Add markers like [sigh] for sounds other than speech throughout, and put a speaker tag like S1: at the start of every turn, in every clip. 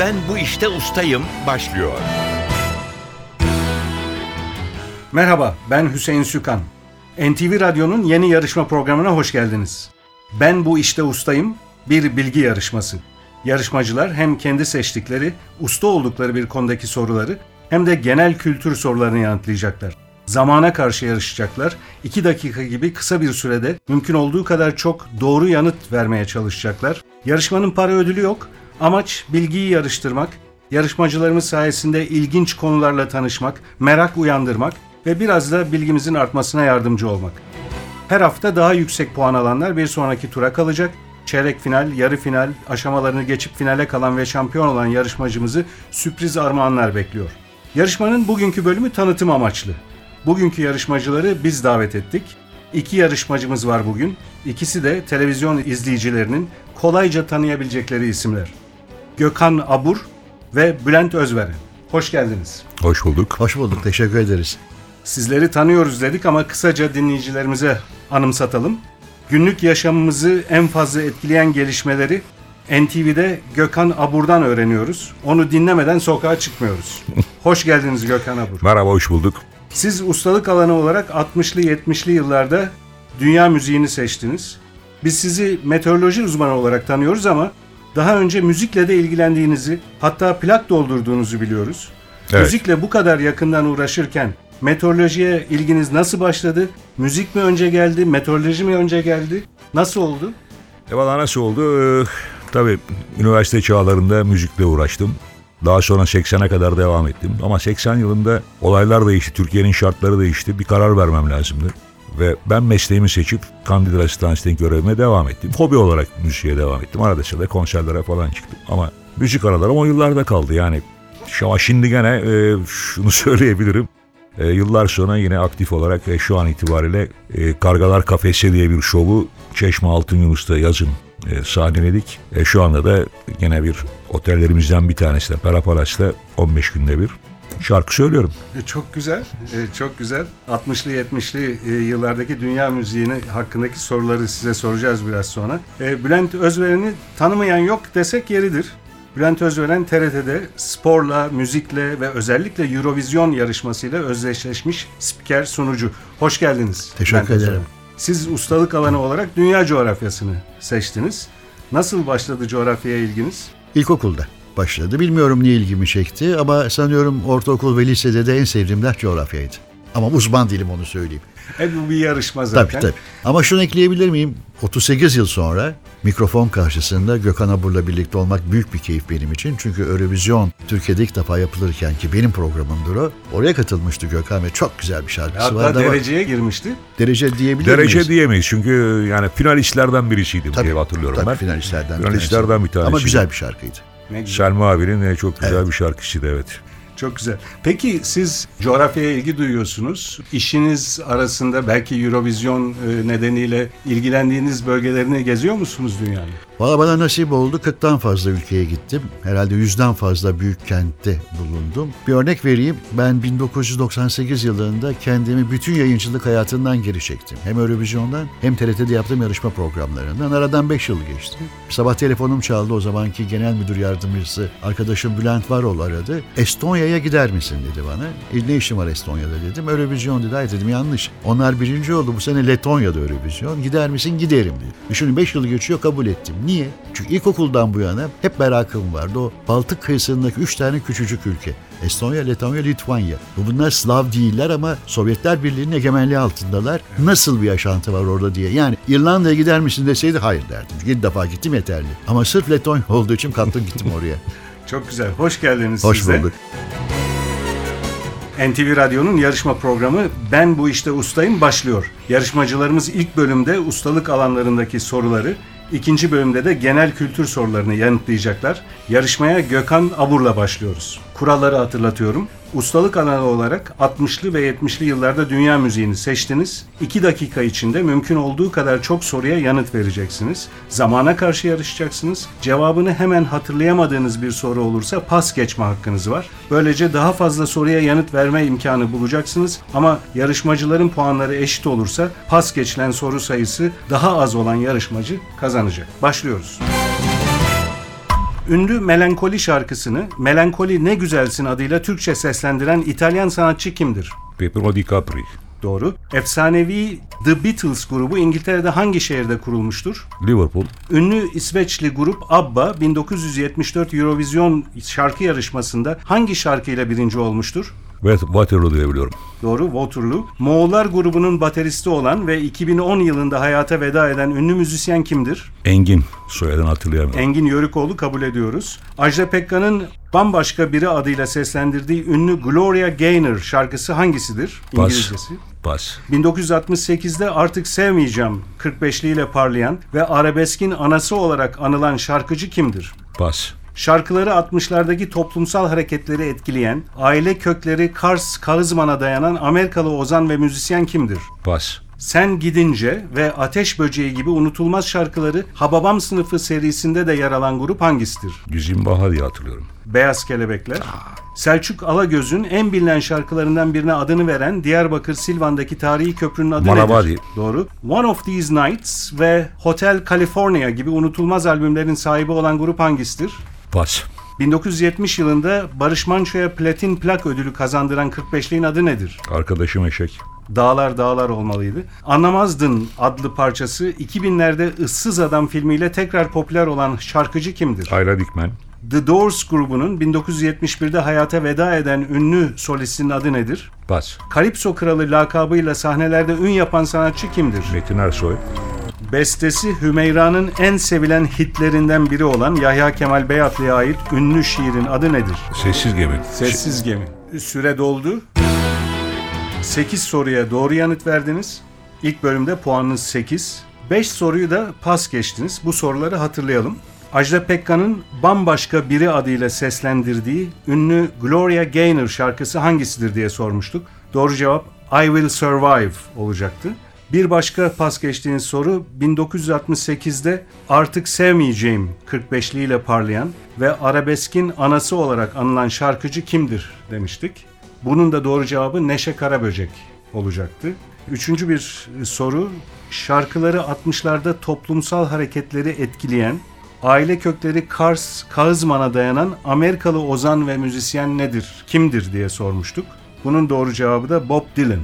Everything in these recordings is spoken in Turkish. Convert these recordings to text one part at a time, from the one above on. S1: Ben bu işte ustayım başlıyor.
S2: Merhaba, ben Hüseyin Sükan. NTV Radyo'nun yeni yarışma programına hoş geldiniz. Ben bu işte ustayım, bir bilgi yarışması. Yarışmacılar hem kendi seçtikleri, usta oldukları bir konudaki soruları hem de genel kültür sorularını yanıtlayacaklar. Zamana karşı yarışacaklar, 2 dakika gibi kısa bir sürede mümkün olduğu kadar çok doğru yanıt vermeye çalışacaklar. Yarışmanın para ödülü yok, amaç bilgiyi yarıştırmak, Yarışmacılarımız sayesinde ilginç konularla tanışmak, merak uyandırmak ve biraz da bilgimizin artmasına yardımcı olmak. Her hafta daha yüksek puan alanlar bir sonraki tura kalacak. Çeyrek final, yarı final, aşamalarını geçip finale kalan ve şampiyon olan yarışmacımızı sürpriz armağanlar bekliyor. Yarışmanın bugünkü bölümü tanıtım amaçlı. Bugünkü yarışmacıları biz davet ettik. İki yarışmacımız var bugün. İkisi de televizyon izleyicilerinin kolayca tanıyabilecekleri isimler. Gökhan Abur ve Bülent Özveren. Hoş geldiniz.
S1: Hoş bulduk.
S3: Hoş bulduk, teşekkür ederiz.
S2: Sizleri tanıyoruz dedik ama kısaca dinleyicilerimize anımsatalım. Günlük yaşamımızı en fazla etkileyen gelişmeleri NTV'de Gökhan Abur'dan öğreniyoruz. Onu dinlemeden sokağa çıkmıyoruz. Hoş geldiniz Gökhan Abur.
S1: Merhaba hoş bulduk.
S2: Siz ustalık alanı olarak 60'lı 70'li yıllarda dünya müziğini seçtiniz. Biz sizi meteoroloji uzmanı olarak tanıyoruz ama daha önce müzikle de ilgilendiğinizi, hatta plak doldurduğunuzu biliyoruz.
S1: Evet.
S2: Müzikle bu kadar yakından uğraşırken meteorolojiye ilginiz nasıl başladı? Müzik mi önce geldi, meteoroloji mi önce geldi? Nasıl oldu?
S4: E valla nasıl oldu? Ee, tabii üniversite çağlarında müzikle uğraştım. Daha sonra 80'e kadar devam ettim. Ama 80 yılında olaylar değişti, Türkiye'nin şartları değişti. Bir karar vermem lazımdı. Ve ben mesleğimi seçip Candida Resistansi'nin görevime devam ettim. Hobi olarak müziğe devam ettim. Arada sırada konserlere falan çıktım. Ama müzik aralarım o yıllarda kaldı yani. şu- Ama şimdi gene e, şunu [laughs] söyleyebilirim. E, yıllar sonra yine aktif olarak e, şu an itibariyle e, Kargalar Kafesi diye bir şovu Çeşme Altın Yunus'ta yazın e, sahneledik. E, şu anda da yine bir otellerimizden bir tanesinde Parapalas'ta 15 günde bir şarkı söylüyorum.
S2: E, Çok güzel, e, çok güzel. 60'lı 70'li e, yıllardaki dünya müziğini hakkındaki soruları size soracağız biraz sonra. E, Bülent Özveren'i tanımayan yok desek yeridir. Bülent Özveren TRT'de sporla, müzikle ve özellikle Eurovision yarışmasıyla özdeşleşmiş spiker sunucu. Hoş geldiniz.
S3: Teşekkür
S2: Bülent
S3: ederim.
S2: Siz ustalık alanı olarak dünya coğrafyasını seçtiniz. Nasıl başladı coğrafyaya ilginiz?
S3: İlkokulda başladı. Bilmiyorum niye ilgimi çekti ama sanıyorum ortaokul ve lisede de en sevdiğim ders coğrafyaydı. Ama uzman değilim onu söyleyeyim.
S2: E bu bir yarışma
S3: Tabii
S2: zaten.
S3: tabii. Ama şunu ekleyebilir miyim? 38 yıl sonra mikrofon karşısında Gökhan Abur'la birlikte olmak büyük bir keyif benim için. Çünkü Eurovision Türkiye'de ilk defa yapılırken ki benim programımdır o. Oraya katılmıştı Gökhan ve çok güzel bir şarkısı
S2: Hatta
S3: vardı ama
S2: dereceye girmişti.
S3: derece diyebilir
S4: Derece
S3: miyiz?
S4: diyemeyiz çünkü e, yani finalistlerden birisiydim diye hatırlıyorum
S3: tabii,
S4: ben.
S3: finalistlerden bir
S4: Finalistlerden
S3: tanesi.
S4: bir tanesi.
S3: Ama güzel bir şey. şarkıydı.
S2: Ne güzel.
S4: Selma abinin e, çok güzel bir şarkısıydı evet.
S2: Çok güzel. Peki siz coğrafyaya ilgi duyuyorsunuz. İşiniz arasında belki Eurovision e, nedeniyle ilgilendiğiniz bölgelerini geziyor musunuz dünyayı?
S3: Valla bana nasip oldu 40'tan fazla ülkeye gittim. Herhalde 100'den fazla büyük kentte bulundum. Bir örnek vereyim. Ben 1998 yılında kendimi bütün yayıncılık hayatından geri çektim. Hem Eurovision'dan hem TRT'de yaptığım yarışma programlarından. Aradan 5 yıl geçti. Sabah telefonum çaldı o zamanki genel müdür yardımcısı arkadaşım Bülent Varol aradı. Estonya'ya gider misin dedi bana. E, ne işin var Estonya'da dedim. Eurovision dedi. Hayır dedim yanlış. Onlar birinci oldu bu sene Letonya'da Eurovision. Gider misin giderim dedi. Düşünün 5 yıl geçiyor kabul ettim. Niye? Çünkü ilkokuldan bu yana hep merakım vardı. O Baltık kıyısındaki 3 tane küçücük ülke. Estonya, Letonya, Litvanya. Bu Bunlar Slav değiller ama Sovyetler Birliği'nin egemenliği altındalar. Nasıl bir yaşantı var orada diye. Yani İrlanda'ya gider misin deseydi hayır derdim. 7 defa gittim yeterli. Ama sırf Letonya olduğu için kalktım gittim oraya.
S2: Çok güzel. Hoş geldiniz
S3: Hoş
S2: siz de.
S3: bulduk.
S2: NTV Radyo'nun yarışma programı Ben Bu İşte Ustayım başlıyor. Yarışmacılarımız ilk bölümde ustalık alanlarındaki soruları, ikinci bölümde de genel kültür sorularını yanıtlayacaklar. Yarışmaya Gökhan Abur'la başlıyoruz. Kuralları hatırlatıyorum. Ustalık alanı olarak 60'lı ve 70'li yıllarda dünya müziğini seçtiniz. 2 dakika içinde mümkün olduğu kadar çok soruya yanıt vereceksiniz. Zamana karşı yarışacaksınız. Cevabını hemen hatırlayamadığınız bir soru olursa pas geçme hakkınız var. Böylece daha fazla soruya yanıt verme imkanı bulacaksınız. Ama yarışmacıların puanları eşit olursa pas geçilen soru sayısı daha az olan yarışmacı kazanacak. Başlıyoruz. Ünlü Melankoli şarkısını Melankoli Ne Güzelsin adıyla Türkçe seslendiren İtalyan sanatçı kimdir?
S4: Pepino Di Capri,
S2: Doğru. Efsanevi The Beatles grubu İngiltere'de hangi şehirde kurulmuştur?
S4: Liverpool,
S2: Ünlü İsveçli grup ABBA 1974 Eurovision şarkı yarışmasında hangi şarkıyla birinci olmuştur?
S4: ve Waterloo diyebiliyorum.
S2: Doğru Waterloo. Moğollar grubunun bateristi olan ve 2010 yılında hayata veda eden ünlü müzisyen kimdir?
S4: Engin, soyadını hatırlayamıyorum.
S2: Engin Yörükoğlu kabul ediyoruz. Ajda Pekka'nın bambaşka biri adıyla seslendirdiği ünlü Gloria Gaynor şarkısı hangisidir?
S4: Pas.
S2: İngilizcesi.
S4: Pas.
S2: 1968'de Artık Sevmeyeceğim 45'liyle parlayan ve arabeskin anası olarak anılan şarkıcı kimdir?
S4: Pas.
S2: Şarkıları 60'lardaki toplumsal hareketleri etkileyen, aile kökleri Kars Kağızman'a dayanan Amerikalı ozan ve müzisyen kimdir?
S4: Pas.
S2: Sen Gidince ve Ateş Böceği gibi unutulmaz şarkıları Hababam sınıfı serisinde de yer alan grup hangisidir?
S4: Güzin Baha diye hatırlıyorum.
S2: Beyaz Kelebekler. Selçuk Alagöz'ün en bilinen şarkılarından birine adını veren Diyarbakır Silvan'daki tarihi köprünün adı
S4: Manavadi.
S2: nedir? Doğru. One of These Nights ve Hotel California gibi unutulmaz albümlerin sahibi olan grup hangisidir?
S4: Pas.
S2: 1970 yılında Barış Manço'ya platin plak ödülü kazandıran 45'liğin adı nedir?
S4: Arkadaşım eşek.
S2: Dağlar Dağlar olmalıydı. Anlamazdın adlı parçası 2000'lerde Issız Adam filmiyle tekrar popüler olan şarkıcı kimdir?
S4: Ayla Dikmen.
S2: The Doors grubunun 1971'de hayata veda eden ünlü solistinin adı nedir?
S4: Pas.
S2: Kalipso Kralı lakabıyla sahnelerde ün yapan sanatçı kimdir?
S4: Metin Ersoy.
S2: Bestesi Hümeyra'nın en sevilen hitlerinden biri olan Yahya Kemal Beyatlı'ya ait ünlü şiirin adı nedir?
S4: Sessiz gemi.
S2: Sessiz Gemi. Süre doldu. 8 soruya doğru yanıt verdiniz. İlk bölümde puanınız 8. 5 soruyu da pas geçtiniz. Bu soruları hatırlayalım. Ajda Pekka'nın bambaşka biri adıyla seslendirdiği ünlü Gloria Gaynor şarkısı hangisidir diye sormuştuk. Doğru cevap I Will Survive olacaktı. Bir başka pas geçtiğiniz soru 1968'de Artık Sevmeyeceğim 45'liğiyle parlayan ve arabeskin anası olarak anılan şarkıcı kimdir demiştik. Bunun da doğru cevabı Neşe Karaböcek olacaktı. Üçüncü bir soru, şarkıları 60'larda toplumsal hareketleri etkileyen, aile kökleri Kars, Kağızman'a dayanan Amerikalı ozan ve müzisyen nedir, kimdir diye sormuştuk. Bunun doğru cevabı da Bob Dylan.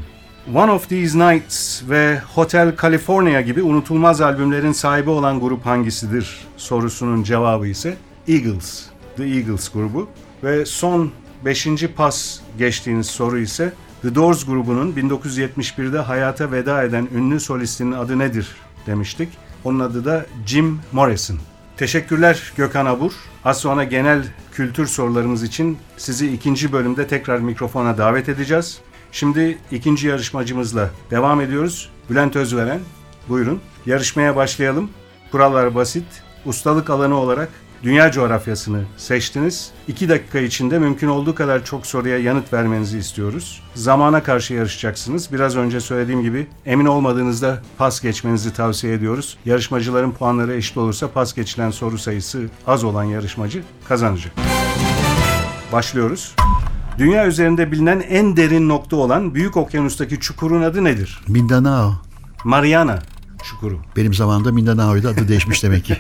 S2: One of These Nights ve Hotel California gibi unutulmaz albümlerin sahibi olan grup hangisidir sorusunun cevabı ise Eagles. The Eagles grubu ve son 5. pas geçtiğiniz soru ise The Doors grubunun 1971'de hayata veda eden ünlü solistinin adı nedir demiştik. Onun adı da Jim Morrison. Teşekkürler Gökhan Abur. Az sonra genel kültür sorularımız için sizi ikinci bölümde tekrar mikrofona davet edeceğiz. Şimdi ikinci yarışmacımızla devam ediyoruz. Bülent Özveren, buyurun. Yarışmaya başlayalım. Kurallar basit. Ustalık alanı olarak dünya coğrafyasını seçtiniz. 2 dakika içinde mümkün olduğu kadar çok soruya yanıt vermenizi istiyoruz. Zamana karşı yarışacaksınız. Biraz önce söylediğim gibi emin olmadığınızda pas geçmenizi tavsiye ediyoruz. Yarışmacıların puanları eşit olursa pas geçilen soru sayısı az olan yarışmacı kazanacak. Başlıyoruz. Dünya üzerinde bilinen en derin nokta olan Büyük Okyanus'taki çukurun adı nedir?
S3: Mindanao.
S2: Mariana çukuru.
S3: Benim zamanımda Mindanao'ydu adı değişmiş demek ki.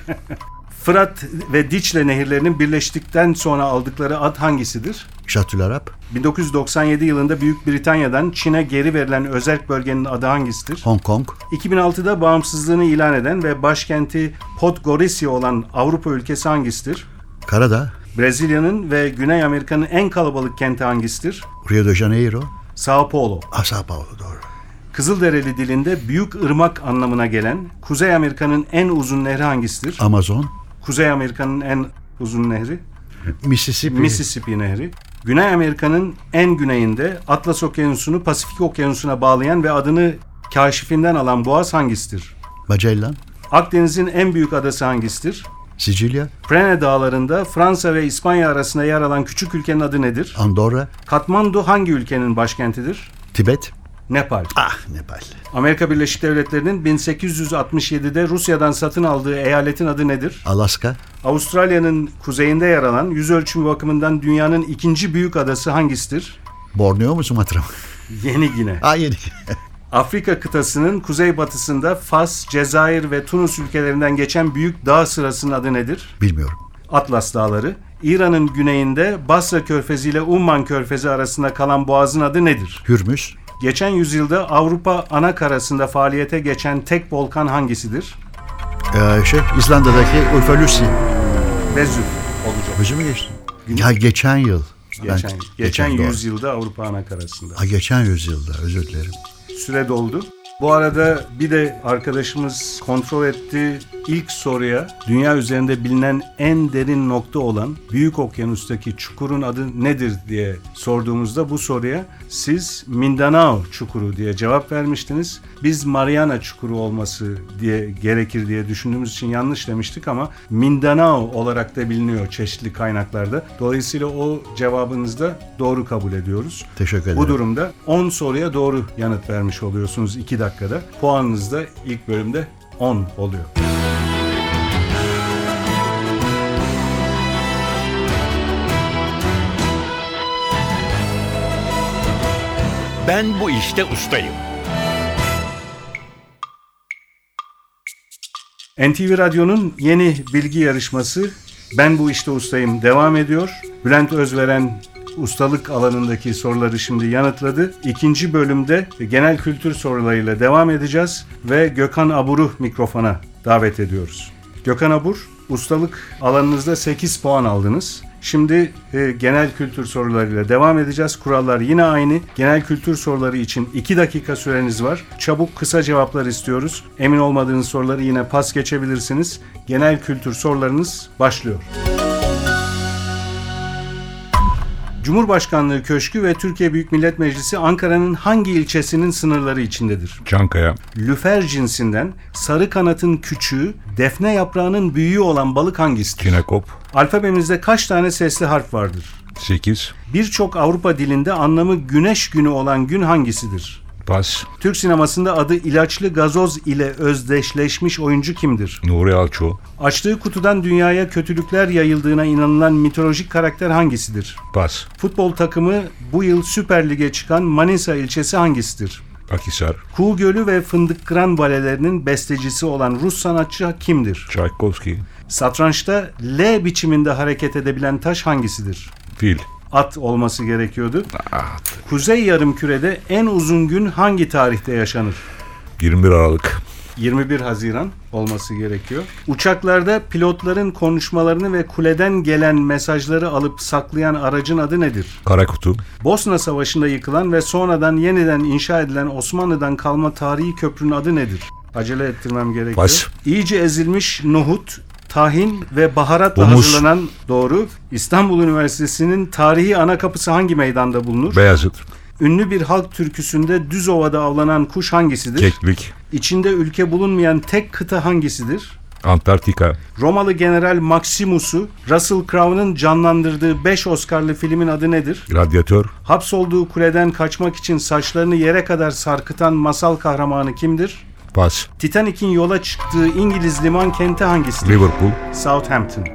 S2: Fırat ve Diçle nehirlerinin birleştikten sonra aldıkları ad hangisidir?
S3: Şatül Arap.
S2: 1997 yılında Büyük Britanya'dan Çin'e geri verilen özel bölgenin adı hangisidir?
S3: Hong Kong.
S2: 2006'da bağımsızlığını ilan eden ve başkenti Podgorica olan Avrupa ülkesi hangisidir?
S3: Karadağ.
S2: Brezilya'nın ve Güney Amerika'nın en kalabalık kenti hangisidir?
S3: Rio de Janeiro.
S2: Sao Paulo.
S3: Ah, Sao Paulo doğru.
S2: Kızılderili dilinde büyük ırmak anlamına gelen Kuzey Amerika'nın en uzun nehri hangisidir?
S3: Amazon.
S2: Kuzey Amerika'nın en uzun nehri
S3: Mississippi.
S2: Mississippi Nehri. Güney Amerika'nın en güneyinde Atlas Okyanusu'nu Pasifik Okyanusu'na bağlayan ve adını kaşifinden alan boğaz hangisidir?
S3: Magellan.
S2: Akdeniz'in en büyük adası hangisidir?
S3: Sicilya.
S2: Prene Dağları'nda Fransa ve İspanya arasında yer alan küçük ülkenin adı nedir?
S3: Andorra.
S2: Katmandu hangi ülkenin başkentidir?
S3: Tibet.
S2: Nepal.
S3: Ah Nepal.
S2: Amerika Birleşik Devletleri'nin 1867'de Rusya'dan satın aldığı eyaletin adı nedir?
S3: Alaska.
S2: Avustralya'nın kuzeyinde yer alan yüz ölçümü bakımından dünyanın ikinci büyük adası hangisidir?
S3: Borneo mu Sumatra mı?
S2: Yeni Gine.
S3: [laughs] Ah yeni.
S2: Afrika kıtasının kuzeybatısında Fas, Cezayir ve Tunus ülkelerinden geçen büyük dağ sırasının adı nedir?
S3: Bilmiyorum.
S2: Atlas Dağları, İran'ın güneyinde Basra Körfezi ile Umman Körfezi arasında kalan boğazın adı nedir?
S3: Hürmüz,
S2: Geçen yüzyılda Avrupa ana karasında faaliyete geçen tek volkan hangisidir?
S3: ee, şey, İzlanda'daki Ulfalusi.
S2: Vezüv olacak.
S3: Hürmüz'ü mü geçtin? Ya geçen yıl. Ben-
S2: Geçen, geçen
S3: doğru.
S2: yüzyılda Avrupa ana karasında.
S3: Ha, geçen yüzyılda özür dilerim.
S2: Süre doldu. Bu arada bir de arkadaşımız kontrol etti. İlk soruya dünya üzerinde bilinen en derin nokta olan Büyük Okyanus'taki çukurun adı nedir diye sorduğumuzda bu soruya siz Mindanao çukuru diye cevap vermiştiniz. Biz Mariana çukuru olması diye gerekir diye düşündüğümüz için yanlış demiştik ama Mindanao olarak da biliniyor çeşitli kaynaklarda. Dolayısıyla o cevabınızı da doğru kabul ediyoruz.
S3: Teşekkür ederim.
S2: Bu durumda 10 soruya doğru yanıt vermiş oluyorsunuz 2 dakikada. Puanınız da ilk bölümde 10 oluyor.
S1: Ben bu işte ustayım.
S2: NTV Radyo'nun yeni bilgi yarışması Ben Bu İşte Ustayım devam ediyor. Bülent Özveren ustalık alanındaki soruları şimdi yanıtladı. İkinci bölümde genel kültür sorularıyla devam edeceğiz ve Gökhan Abur'u mikrofona davet ediyoruz. Gökhan Abur, ustalık alanınızda 8 puan aldınız. Şimdi e, genel kültür sorularıyla devam edeceğiz. Kurallar yine aynı. Genel kültür soruları için 2 dakika süreniz var. Çabuk kısa cevaplar istiyoruz. Emin olmadığınız soruları yine pas geçebilirsiniz. Genel kültür sorularınız başlıyor. Cumhurbaşkanlığı Köşkü ve Türkiye Büyük Millet Meclisi Ankara'nın hangi ilçesinin sınırları içindedir?
S4: Çankaya,
S2: Lüfer cinsinden sarı kanatın küçüğü, defne yaprağının büyüğü olan balık hangisidir?
S4: Kinekop,
S2: Alfabemizde kaç tane sesli harf vardır?
S4: 8,
S2: Birçok Avrupa dilinde anlamı güneş günü olan gün hangisidir?
S4: Pas,
S2: Türk sinemasında adı ilaçlı gazoz ile özdeşleşmiş oyuncu kimdir?
S4: Nuri Alço,
S2: Açtığı kutudan dünyaya kötülükler yayıldığına inanılan mitolojik karakter hangisidir?
S4: Pas,
S2: Futbol takımı bu yıl Süper Lig'e çıkan Manisa ilçesi hangisidir?
S4: Akisar,
S2: Kuğu Gölü ve Fındık Kıran balelerinin bestecisi olan Rus sanatçı kimdir?
S4: Çaykovski,
S2: Satrançta L biçiminde hareket edebilen taş hangisidir?
S4: Fil,
S2: at olması gerekiyordu. Kuzey Yarımküre'de en uzun gün hangi tarihte yaşanır?
S4: 21 Aralık,
S2: 21 Haziran olması gerekiyor. Uçaklarda pilotların konuşmalarını ve kuleden gelen mesajları alıp saklayan aracın adı nedir?
S4: Karakutu,
S2: Bosna Savaşı'nda yıkılan ve sonradan yeniden inşa edilen Osmanlı'dan kalma tarihi köprünün adı nedir? Acele ettirmem gerekiyor.
S4: Bas.
S2: İyice ezilmiş nohut, tahin ve baharatla
S4: Humus.
S2: hazırlanan doğru. İstanbul Üniversitesi'nin tarihi ana kapısı hangi meydanda bulunur?
S4: Beyazıt,
S2: Ünlü bir halk türküsünde düz ovada avlanan kuş hangisidir?
S4: Keklik,
S2: İçinde ülke bulunmayan tek kıta hangisidir?
S4: Antarktika,
S2: Romalı General Maximus'u Russell Crowe'ın canlandırdığı 5 Oscar'lı filmin adı nedir?
S4: Radyatör,
S2: Hapsolduğu kuleden kaçmak için saçlarını yere kadar sarkıtan masal kahramanı kimdir?
S4: Pas,
S2: Titanic'in yola çıktığı İngiliz liman kenti hangisidir?
S4: Liverpool,
S2: Southampton.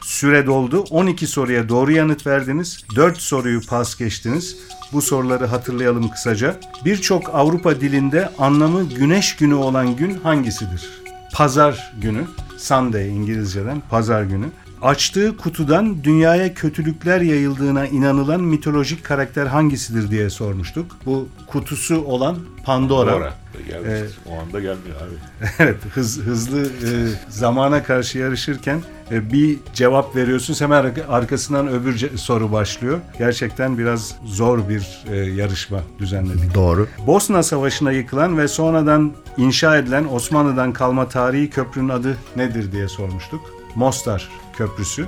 S2: Süre doldu. 12 soruya doğru yanıt verdiniz. 4 soruyu pas geçtiniz. Bu soruları hatırlayalım kısaca. Birçok Avrupa dilinde anlamı güneş günü olan gün hangisidir? Pazar günü. Sunday İngilizceden pazar günü. Açtığı kutudan dünyaya kötülükler yayıldığına inanılan mitolojik karakter hangisidir diye sormuştuk. Bu kutusu olan Pandora.
S5: O anda gelmiyor abi.
S2: [laughs] Evet hız, hızlı e, zamana karşı yarışırken e, bir cevap veriyorsunuz hemen arka- arkasından öbür ce- soru başlıyor. Gerçekten biraz zor bir e, yarışma düzenledik.
S3: Doğru.
S2: Bosna Savaşı'nda yıkılan ve sonradan inşa edilen Osmanlı'dan kalma tarihi köprünün adı nedir diye sormuştuk. Mostar Köprüsü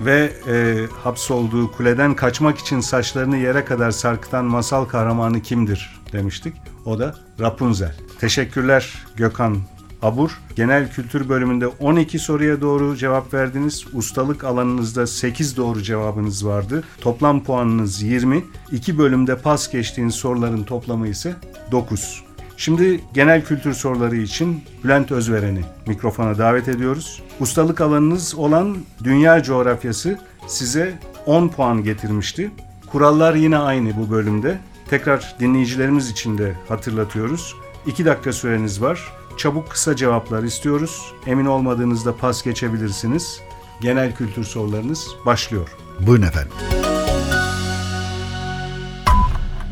S2: ve e, hapsolduğu kuleden kaçmak için saçlarını yere kadar sarkıtan masal kahramanı kimdir demiştik. O da Rapunzel. Teşekkürler Gökhan Abur. Genel kültür bölümünde 12 soruya doğru cevap verdiniz. Ustalık alanınızda 8 doğru cevabınız vardı. Toplam puanınız 20. 2 bölümde pas geçtiğiniz soruların toplamı ise 9. Şimdi genel kültür soruları için Bülent Özveren'i mikrofona davet ediyoruz. Ustalık alanınız olan dünya coğrafyası size 10 puan getirmişti. Kurallar yine aynı bu bölümde. Tekrar dinleyicilerimiz için de hatırlatıyoruz. 2 dakika süreniz var. Çabuk kısa cevaplar istiyoruz. Emin olmadığınızda pas geçebilirsiniz. genel kültür sorularınız başlıyor.
S3: Buyurun efendim.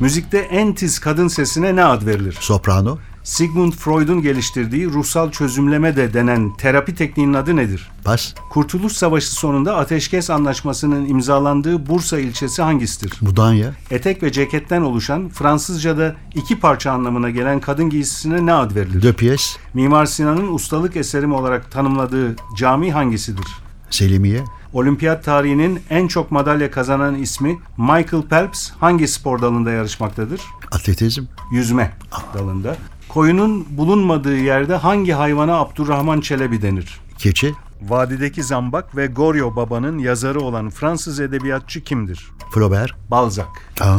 S2: Müzikte en tiz kadın sesine ne ad verilir?
S3: Soprano,
S2: Sigmund Freud'un geliştirdiği ruhsal çözümleme de denen terapi tekniğinin adı nedir?
S3: pas,
S2: Kurtuluş Savaşı sonunda ateşkes anlaşmasının imzalandığı Bursa ilçesi hangisidir?
S3: Mudanya,
S2: Etek ve ceketten oluşan Fransızca'da iki parça anlamına gelen kadın giysisine ne ad verilir?
S3: Döpiyes,
S2: Mimar Sinan'ın ustalık eserim olarak tanımladığı cami hangisidir?
S3: Selimiye,
S2: Olimpiyat tarihinin en çok madalya kazanan ismi Michael Phelps hangi spor dalında yarışmaktadır?
S3: atletizm,
S2: Yüzme dalında. Koyunun bulunmadığı yerde hangi hayvana Abdurrahman Çelebi denir?
S3: keçi,
S2: Vadideki Zambak ve Goryo Baba'nın yazarı olan Fransız edebiyatçı kimdir?
S3: Flaubert,
S2: Balzac.
S3: Aa,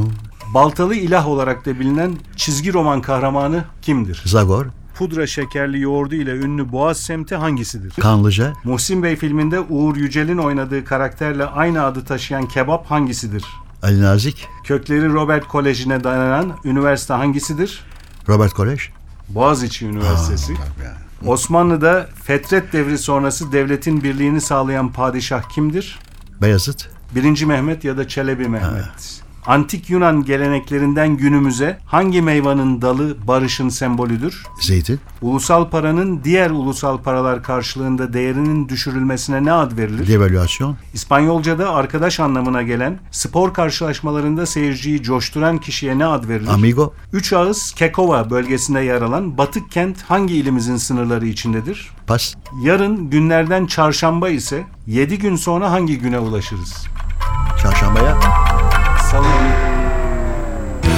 S2: Baltalı ilah olarak da bilinen çizgi roman kahramanı kimdir?
S3: Zagor,
S2: Pudra şekerli yoğurdu ile ünlü Boğaz semti hangisidir?
S3: Kanlıca,
S2: Muhsin Bey filminde Uğur Yücel'in oynadığı karakterle aynı adı taşıyan kebap hangisidir?
S3: Ali Nazik,
S2: Kökleri Robert Koleji'ne dayanan üniversite hangisidir?
S3: Robert Kolej,
S2: Boğaziçi Üniversitesi. Osmanlı'da Fetret devri sonrası devletin birliğini sağlayan padişah kimdir?
S3: Beyazıt,
S2: Birinci Mehmet ya da Çelebi Mehmet. Antik Yunan geleneklerinden günümüze hangi meyvanın dalı barışın sembolüdür?
S3: Zeytin,
S2: Ulusal paranın diğer ulusal paralar karşılığında değerinin düşürülmesine ne ad verilir?
S3: devalüasyon,
S2: İspanyolca'da arkadaş anlamına gelen spor karşılaşmalarında seyirciyi coşturan kişiye ne ad verilir?
S3: amigo,
S2: Üç Ağız Kekova bölgesinde yer alan Batık kent hangi ilimizin sınırları içindedir?
S3: pas,
S2: Yarın günlerden çarşamba ise 7 gün sonra hangi güne ulaşırız?
S3: çarşambaya,
S2: Salı günü.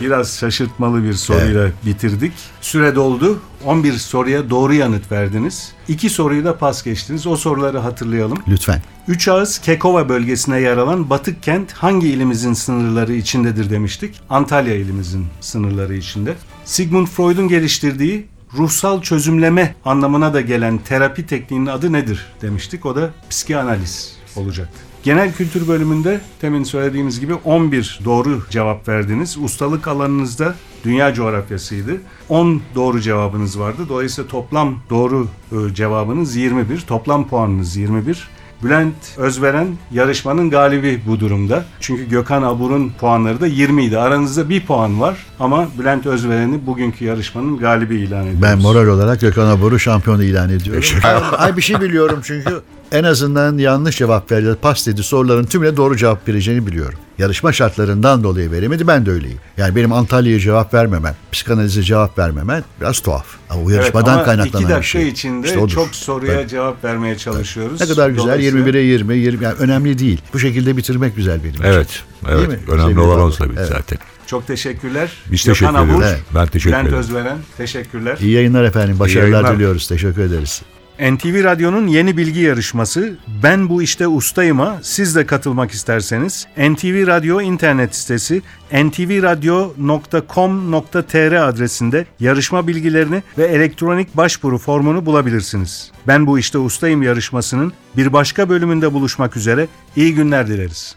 S2: Biraz şaşırtmalı bir soruyla bitirdik. Süre doldu. 11 soruya doğru yanıt verdiniz. 2 soruyu da pas geçtiniz. O soruları hatırlayalım.
S3: lütfen.
S2: Üç Ağız Kekova bölgesine yer alan Batık kent hangi ilimizin sınırları içindedir demiştik. Antalya ilimizin sınırları içinde. Sigmund Freud'un geliştirdiği ruhsal çözümleme anlamına da gelen terapi tekniğinin adı nedir demiştik. O da psikanaliz olacaktı. Genel kültür bölümünde temin söylediğimiz gibi 11 doğru cevap verdiniz. Ustalık alanınızda dünya coğrafyasıydı. 10 doğru cevabınız vardı. Dolayısıyla toplam doğru e, cevabınız 21. Toplam puanınız 21. Bülent Özveren yarışmanın galibi bu durumda. Çünkü Gökhan Abur'un puanları da 20 idi. Aranızda bir puan var ama Bülent Özveren'i bugünkü yarışmanın galibi ilan ediyoruz.
S3: Ben moral olarak Gökhan Abur'u şampiyon ilan ediyorum. Ay- Ay bir şey biliyorum çünkü en azından yanlış cevap verdi. Pas dedi soruların tümüne doğru cevap vereceğini biliyorum. Yarışma şartlarından dolayı veremedi ben de öyleyim. Yani benim Antalya'ya cevap vermemen, psikanalize cevap vermemen biraz tuhaf. Ama bu yarışmadan
S2: ama iki
S3: kaynaklanan bir
S2: dakika
S3: şey.
S2: içinde
S3: İşte odur.
S2: çok soruya
S3: Evet.
S2: cevap vermeye çalışıyoruz.
S3: Ne kadar güzel
S2: Dolayısıyla
S3: 21'e 20, 20 yani önemli değil. Bu şekilde bitirmek güzel benim için.
S4: Evet.
S3: Değil mi?
S4: Evet. Önemli
S3: Sevgili
S4: olan
S3: Fatih.
S4: o tabii
S3: Evet.
S4: zaten.
S2: Çok teşekkürler.
S4: Biz
S2: Gökhan
S4: teşekkür
S2: Abur,
S4: ediyoruz. Ben teşekkür
S2: Bülent
S4: ederim.
S2: Özveren teşekkürler.
S3: İyi yayınlar efendim. Başarılar
S4: yayınlar.
S3: diliyoruz. Teşekkür ederiz.
S2: NTV Radyo'nun yeni bilgi yarışması Ben Bu İşte Ustayım'a siz de katılmak isterseniz NTV Radyo internet sitesi ntvradio.com.tr adresinde yarışma bilgilerini ve elektronik başvuru formunu bulabilirsiniz. Ben Bu İşte Ustayım yarışmasının bir başka bölümünde buluşmak üzere iyi günler dileriz.